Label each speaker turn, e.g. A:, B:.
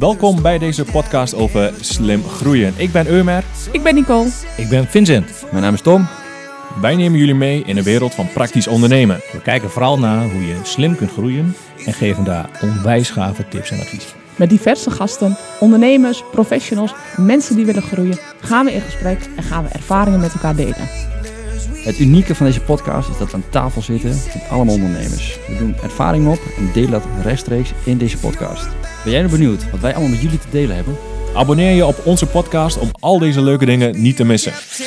A: Welkom bij deze podcast over slim groeien. Ik ben Eumer.
B: Ik ben Nicole.
C: Ik ben Vincent.
D: Mijn naam is Tom.
A: Wij nemen jullie mee in de wereld van praktisch ondernemen.
C: We kijken vooral naar hoe je slim kunt groeien en geven daar onwijs gave tips en advies.
B: Met diverse gasten, ondernemers, professionals, mensen die willen groeien, gaan we in gesprek en gaan we ervaringen met elkaar delen.
D: Het unieke van deze podcast is dat we aan tafel zitten met allemaal ondernemers. We doen ervaring op en delen dat rechtstreeks in deze podcast. Ben jij nou benieuwd wat wij allemaal met jullie te delen hebben?
A: Abonneer je op onze podcast om al deze leuke dingen niet te missen.